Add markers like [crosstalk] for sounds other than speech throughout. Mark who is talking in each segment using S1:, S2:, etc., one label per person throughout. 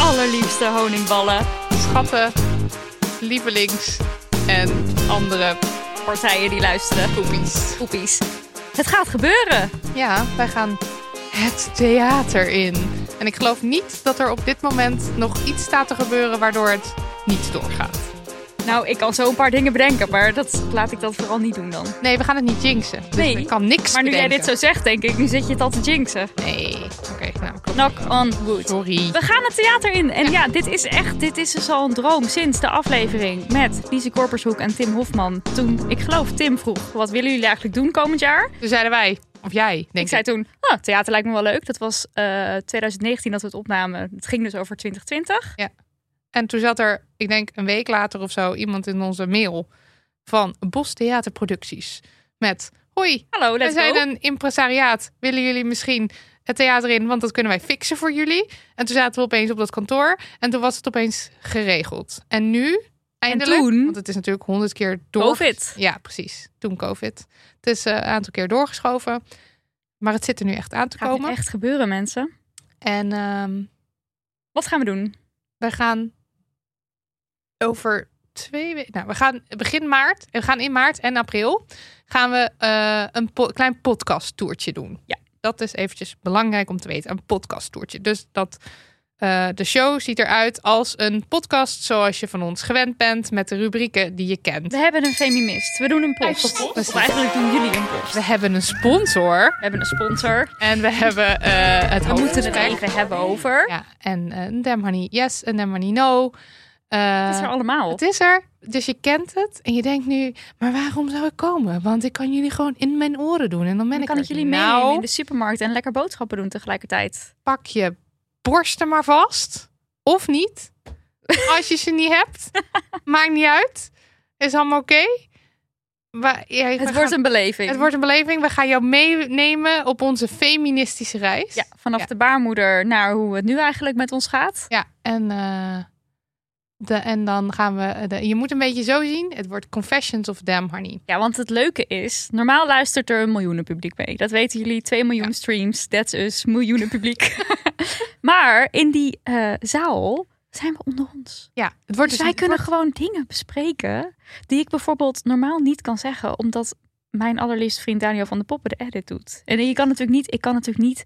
S1: allerliefste honingballen. Schatten, lievelings en andere partijen die luisteren. Poepies. Poepies. Het gaat gebeuren. Ja, wij gaan het theater in. En ik geloof niet dat er op dit moment nog iets staat te gebeuren waardoor het niet doorgaat.
S2: Nou, ik kan zo een paar dingen bedenken, maar dat laat ik dat vooral niet doen dan.
S1: Nee, we gaan het niet jinxen. Dus
S2: Nee,
S1: ik kan niks
S2: Maar nu jij dit
S1: bedenken.
S2: zo zegt, denk ik, nu zit je het al te jinxen.
S1: Nee, oké, nou, klopt.
S2: Knock on wood.
S1: Sorry.
S2: We gaan het theater in. En ja, dit is echt, dit is dus al een droom sinds de aflevering met Lise Korpershoek en Tim Hofman. Toen, ik geloof Tim vroeg, wat willen jullie eigenlijk doen komend jaar?
S1: Toen zeiden wij, of jij, denk
S2: ik zei toen, ah, theater lijkt me wel leuk. Dat was eh, 2019 dat we het opnamen. Het ging dus over 2020.
S1: En toen zat er, ik denk een week later of zo, iemand in onze mail van Bos Theaterproducties. Met, hoi,
S2: Hallo,
S1: wij
S2: let's
S1: zijn
S2: go.
S1: een impresariaat. Willen jullie misschien het theater in? Want dat kunnen wij fixen voor jullie. En toen zaten we opeens op dat kantoor. En toen was het opeens geregeld. En nu, eindelijk,
S2: toen-
S1: want het is natuurlijk honderd keer door...
S2: Covid.
S1: Ja, precies. Toen COVID. Het is eh, een aantal keer doorgeschoven. Maar het zit er nu echt aan te
S2: Gaat dit
S1: komen.
S2: echt gebeuren, mensen?
S1: En ehm,
S2: Wat gaan we doen?
S1: wij gaan over twee weken. Nou, we gaan begin maart. We gaan in maart en april gaan we eh, een po- klein podcast toertje doen.
S2: Ja.
S1: Dat is eventjes belangrijk om te weten. Een podcast toertje. Dus dat eh, de show ziet eruit als een podcast zoals je van ons gewend bent met de rubrieken die je kent.
S2: We hebben een feminist. We doen een post. Of eigenlijk doen jullie een post.
S1: We hebben een sponsor
S2: We hebben een sponsor.
S1: en we hebben eh, het
S2: We moeten het
S1: hoofdgesprek.
S2: even hebben over.
S1: Ja, en eh, een Dem Honey Yes, een Dem Honey No. Eh,
S2: Dat is er allemaal.
S1: Het is er. Dus je kent het. En je denkt nu, maar waarom zou ik komen? Want ik kan jullie gewoon in mijn oren doen. En dan ben
S2: Dan
S1: ik
S2: kan
S1: er.
S2: ik jullie
S1: nou,
S2: meenemen in de supermarkt en lekker boodschappen doen tegelijkertijd.
S1: pak je borsten maar vast. Of niet. Als je ze niet
S2: [laughs]
S1: hebt. Maakt niet uit. Is allemaal oké. We- ja, we
S2: Het
S1: gaan-
S2: wordt een beleving.
S1: het wordt een beleving. We gaan jou meenemen op onze feministische reis.
S2: ja, vanaf
S1: Ja.
S2: de baarmoeder naar hoe het nu eigenlijk met ons gaat.
S1: Ja, en, eh, de, en dan gaan we... De, je moet een beetje zo zien. Het wordt Confessions of Damn Honey.
S2: Ja, want het leuke is, normaal luistert er een miljoenen publiek mee. Dat weten jullie, 2 miljoen streams, that's us, miljoenen publiek. [laughs] maar in die eh, zaal zijn we onder ons.
S1: Ja, het wordt
S2: Dus
S1: dus
S2: wij
S1: het
S2: kunnen
S1: wordt-
S2: gewoon dingen bespreken die ik bijvoorbeeld normaal niet kan zeggen, omdat mijn allerliefste vriend Daniel van de Poppen de edit doet. En je kan natuurlijk niet, ik kan natuurlijk niet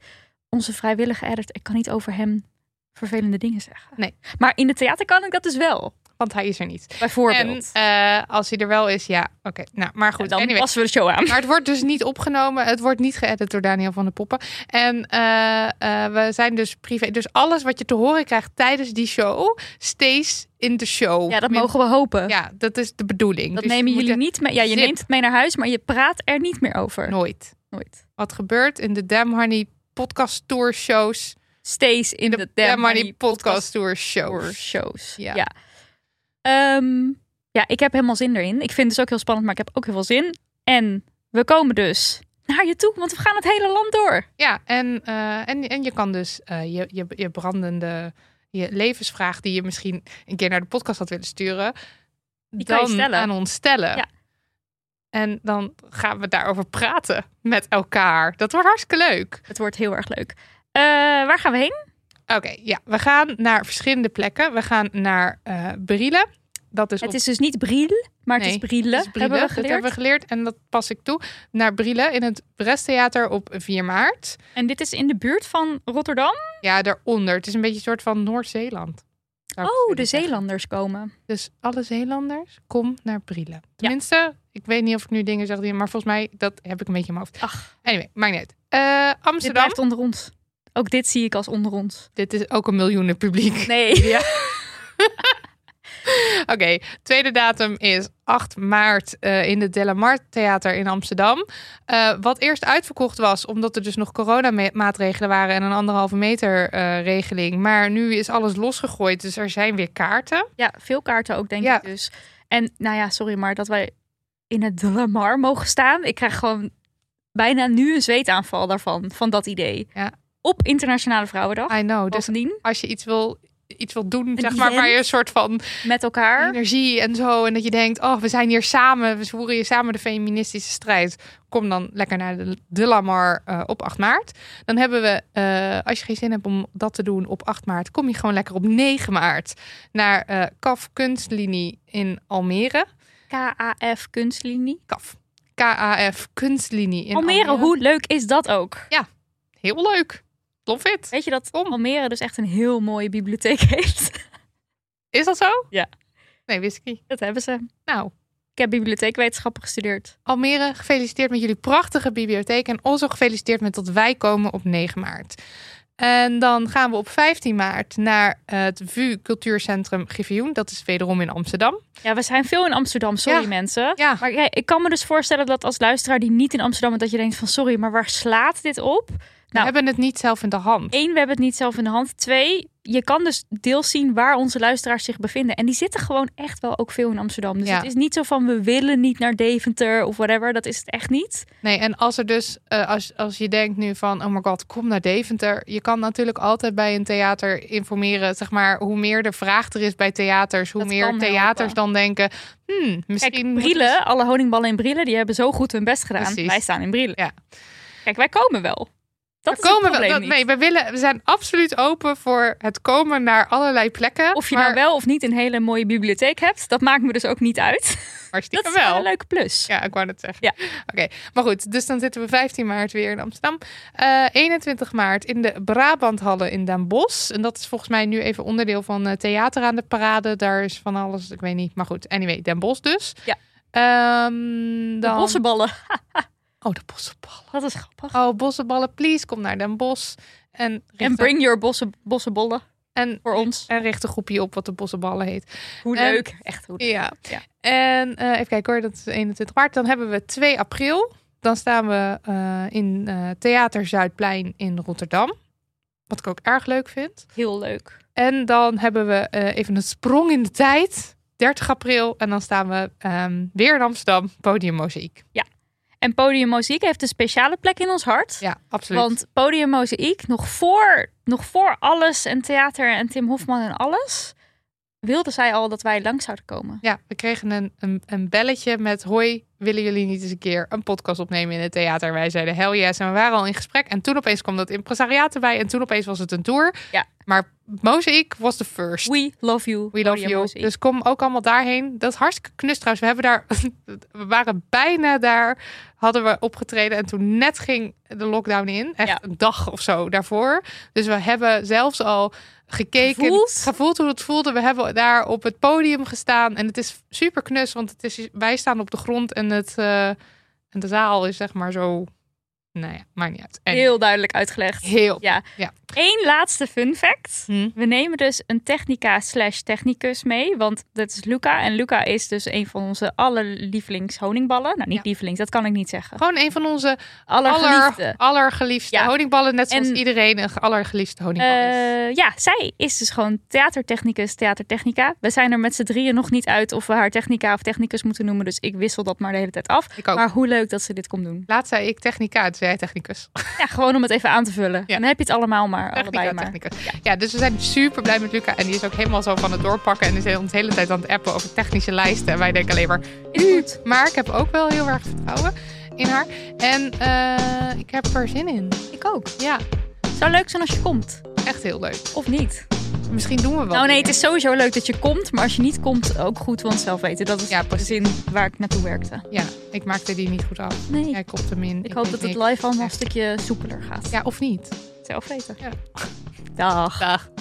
S2: onze vrijwillige edit, ik kan niet over hem vervelende dingen zeggen.
S1: Nee.
S2: Maar in het theater kan ik dat dus wel,
S1: Want hij is er niet. En
S2: bijvoorbeeld.
S1: eh, als hij er wel is, ja, oké. Nou, maar goed,
S2: En dan
S1: anyway.
S2: passen we de show aan.
S1: [laughs] Maar het wordt dus niet opgenomen. Het wordt niet geëdit door Daniel van de Poppen. En eh, eh, we zijn dus privé. Dus alles wat je te horen krijgt tijdens die show, stays in de show.
S2: Ja, dat mogen we hopen.
S1: Ja, dat is de bedoeling.
S2: Dat
S1: Dus
S2: nemen
S1: we
S2: jullie
S1: moeten
S2: niet mee. Ja, je
S1: Zip.
S2: neemt het mee naar huis, maar je praat er niet meer over.
S1: Nooit.
S2: Nooit.
S1: Wat gebeurt in de Damn Honey podcast tour shows?
S2: Stays in de,
S1: Damn,
S2: Damn
S1: Honey
S2: Honey
S1: podcast tour shows.
S2: Tour shows.
S1: Ja.
S2: Ja. Ja. Ehm, ja, ik heb helemaal zin erin. Ik vind het dus ook heel spannend, maar ik heb ook heel veel zin. En we komen dus naar je toe, want we gaan het hele land door.
S1: Ja, en, eh, en, en je kan dus eh, je, je, je brandende je levensvraag die je misschien een keer naar de podcast had willen sturen,
S2: kan je
S1: dan
S2: stellen.
S1: aan ons stellen.
S2: Ja.
S1: En dan gaan we daarover praten met elkaar. Dat wordt hartstikke leuk.
S2: Het wordt heel erg leuk. Eh, waar gaan we heen?
S1: Oké, ja, we gaan naar verschillende plekken. We gaan naar eh Berielen. dat is
S2: Het
S1: op-
S2: is dus niet Briel, maar het
S1: Nee,
S2: is Brille,
S1: het is Brille.
S2: hebben we
S1: Dat
S2: geleerd.
S1: hebben we geleerd en dat pas ik toe. Naar Brille in het Bresttheater op 4 maart.
S2: En dit is in de buurt van Rotterdam.
S1: Ja, daaronder. Het is een beetje een soort van Noord-Zeeland. Zou ik
S2: Oh, de
S1: willen zeggen.
S2: Zeelanders komen.
S1: Dus alle Zeelanders, kom naar Brielen. Tenminste, ik weet niet of ik nu dingen zeg, die, maar volgens mij dat heb ik een beetje in mijn hoofd.
S2: Ach.
S1: Anyway, maakt niet uit. Eh,
S2: Dit
S1: Amsterdam.
S2: blijft onder ons. Ook dit zie ik als onder ons.
S1: Dit is ook een miljoenen publiek.
S2: Nee.
S1: [laughs] Oké, tweede datum is 8 maart eh, in het Delamart Theater in Amsterdam. Eh, wat eerst uitverkocht was, omdat er dus nog coronamaatregelen waren en een anderhalve meter eh, regeling. Maar nu is alles losgegooid, dus er zijn weer kaarten.
S2: Ja, veel kaarten ook, denk
S1: Ja.
S2: ik dus. En nou ja, sorry, maar dat wij in het De La Mar mogen staan. Ik krijg gewoon bijna nu een zweetaanval daarvan, van dat idee.
S1: Ja.
S2: Op Internationale Vrouwendag.
S1: I know, dus
S2: Bovendien,
S1: als je iets wil, iets wil doen, zeg maar,
S2: event.
S1: waar je een soort van
S2: met elkaar.
S1: energie en zo. En dat je denkt, oh, we zijn hier samen, we voeren hier samen de feministische strijd. Kom dan lekker naar de, de Lamar eh, op 8 maart. Dan hebben we, eh, als je geen zin hebt om dat te doen op 8 maart, kom je gewoon lekker op 9 maart naar eh KAF Kunstlinie in Almere.
S2: KAF Kunstlinie.
S1: KAF. KAF Kunstlinie in Almere.
S2: Almere, hoe leuk is dat ook?
S1: Heel leuk. Love it.
S2: Weet je dat
S1: Kom.
S2: Almere dus echt een heel mooie bibliotheek [laughs] heeft?
S1: Is dat zo?
S2: Ja.
S1: Nee, wist ik niet.
S2: Dat hebben ze.
S1: Nou,
S2: Ik heb bibliotheekwetenschappen gestudeerd.
S1: Almere, gefeliciteerd met jullie prachtige bibliotheek. En also gefeliciteerd met dat wij komen op 9 maart. En dan gaan we op 15 maart naar eh, het VU Cultuurcentrum Givioen. Dat is wederom in Amsterdam.
S2: Ja, we zijn veel in Amsterdam, sorry
S1: Ja.
S2: mensen.
S1: Ja,
S2: Maar ja, ik kan me dus voorstellen dat als luisteraar die niet in Amsterdam is, dat je denkt van sorry, maar waar slaat dit op?
S1: we
S2: nou.
S1: hebben het niet zelf in de hand.
S2: Eén, we hebben het niet zelf in de hand. Twee, je kan dus deels zien waar onze luisteraars zich bevinden. En die zitten gewoon echt wel ook veel in Amsterdam. Dus
S1: Ja.
S2: het is niet zo van we willen niet naar Deventer of whatever. Dat is het echt niet.
S1: Nee, en als er dus, eh, als, als je denkt nu van, oh my god, kom naar Deventer. Je kan natuurlijk altijd bij een theater informeren. Zeg maar, hoe meer de vraag er is bij theaters, hoe
S2: Dat
S1: meer
S2: kan
S1: theaters
S2: helpen.
S1: dan denken, hmm, misschien.
S2: Kijk,
S1: moet
S2: Brielen, alle honingballen in Brielen, die hebben zo goed hun best gedaan.
S1: Precies.
S2: Wij staan in Brielen.
S1: Ja.
S2: Kijk, wij komen wel. Dat
S1: We
S2: is het
S1: komen
S2: probleem
S1: wel,
S2: niet.
S1: nee, we, willen, we zijn absoluut open voor het komen naar allerlei plekken.
S2: Of je
S1: maar,
S2: nou wel of niet een hele mooie bibliotheek hebt, dat maakt me dus ook niet uit.
S1: maar
S2: Dat
S1: stiekem
S2: is wel
S1: wel.
S2: een leuke plus.
S1: Ja, ik wou net zeggen.
S2: Ja.
S1: Oké, maar goed. Dus dan zitten we 15 maart weer in Amsterdam. Eh, 21 maart in de Brabanthallen in Den Bosch. En dat is volgens mij nu even onderdeel van eh, Theater aan de Parade. Daar is van alles, ik weet niet. Maar goed, anyway, Den Bosch dus.
S2: Ja.
S1: Ehm,
S2: De
S1: dan...
S2: bossenballen, [laughs]
S1: Oh, de bossenballen.
S2: dat is grappig.
S1: Oh, bossenballen, please, kom naar Den Bosch. En, richt
S2: en
S1: een-
S2: bring your bossen, bossenbollen
S1: en,
S2: voor ons.
S1: en richt een groepje op wat de bossenballen heet.
S2: Hoe
S1: en-
S2: leuk. Echt hoe leuk.
S1: Ja.
S2: Ja.
S1: En eh, even kijken hoor, dat is 21 maart. Dan hebben we 2 april. Dan staan we eh, in eh, Theater Zuidplein in Rotterdam. Wat ik ook erg leuk vind.
S2: Heel leuk.
S1: En dan hebben we eh, even een sprong in de tijd. 30 april. En dan staan we ehm, weer in Amsterdam. Podium Mozaïek.
S2: En Podium Mozaïek heeft een speciale plek in ons hart.
S1: Ja, absoluut.
S2: Want Podium Mozaïek, nog voor, nog voor alles en theater en Tim Hofman en alles, wilde zij al dat wij langs zouden komen.
S1: Ja, we kregen een, een, een belletje met... Hoi, willen jullie niet eens een keer een podcast opnemen in het theater? Wij zeiden hell yes en we waren al in gesprek. En toen opeens kwam dat impresariaat erbij. En toen opeens was het een tour.
S2: Ja.
S1: Maar Mosaic was the first.
S2: We love you.
S1: We love
S2: Podium
S1: you.
S2: Mozaïek.
S1: Dus kom ook allemaal daarheen. Dat is hartstikke knus trouwens. We, hebben daar, [laughs] we waren bijna daar. Hadden we opgetreden. En toen net ging de lockdown in. Echt
S2: Ja.
S1: een dag of zo daarvoor. Dus we hebben zelfs al gekeken.
S2: Gevoeld?
S1: hoe het voelde. We hebben daar op het podium gestaan. En het is super knus. Want het is, wij staan op de grond. En, het, eh, en de zaal is zeg maar zo... Nou ja, maakt niet uit. En
S2: Heel duidelijk uitgelegd.
S1: heel
S2: Ja.
S1: Ja.
S2: Eén laatste fun fact.
S1: Hm.
S2: We nemen dus een technica slash technicus mee, want dat is Luca. En Luca is dus een van onze allerlievelings honingballen. Nou, niet
S1: Ja.
S2: lievelings, dat kan ik niet zeggen.
S1: Gewoon een van onze
S2: Allergeliefde.
S1: aller, allergeliefste
S2: Ja.
S1: honingballen. Net zoals
S2: En-
S1: iedereen een allergeliefde honingbal is.
S2: Eh, ja, zij is dus gewoon theatertechnicus, theatertechnica. We zijn er met z'n drieën nog niet uit of we haar technica of technicus moeten noemen. Dus ik wissel dat maar de hele tijd af.
S1: Ik ook.
S2: Maar hoe leuk dat ze dit komt doen.
S1: Laatst zei ik technica, toen zei jij technicus.
S2: Ja, gewoon om het even aan te vullen.
S1: Ja.
S2: Dan heb je het allemaal maar,
S1: Technica,
S2: allebei maar.
S1: technicus. Ja. dus we zijn super blij met Luca. En die is ook helemaal zo van het doorpakken. En is de hele tijd aan het appen over technische lijsten. En wij denken alleen maar,
S2: Is goed.
S1: maar ik heb ook wel heel erg vertrouwen in haar. En eh, ik heb er zin in.
S2: Ik ook.
S1: Ja,
S2: Zou leuk zijn als je komt.
S1: echt heel leuk.
S2: Of niet.
S1: Misschien doen we wat.
S2: Nou nee, het
S1: meer.
S2: is sowieso leuk dat je komt. Maar als je niet komt, ook goed van zelf weten. Dat is
S1: Ja,
S2: de
S1: precies.
S2: zin waar ik naartoe werkte.
S1: Ja, ik maakte die niet goed af.
S2: Nee,
S1: Jij kopt hem in.
S2: ik hoop
S1: weet
S2: dat het
S1: niks.
S2: live allemaal een stukje soepeler gaat.
S1: Ja, of niet.
S2: Zelf weten.
S1: Ja.
S2: Dag.
S1: Dag.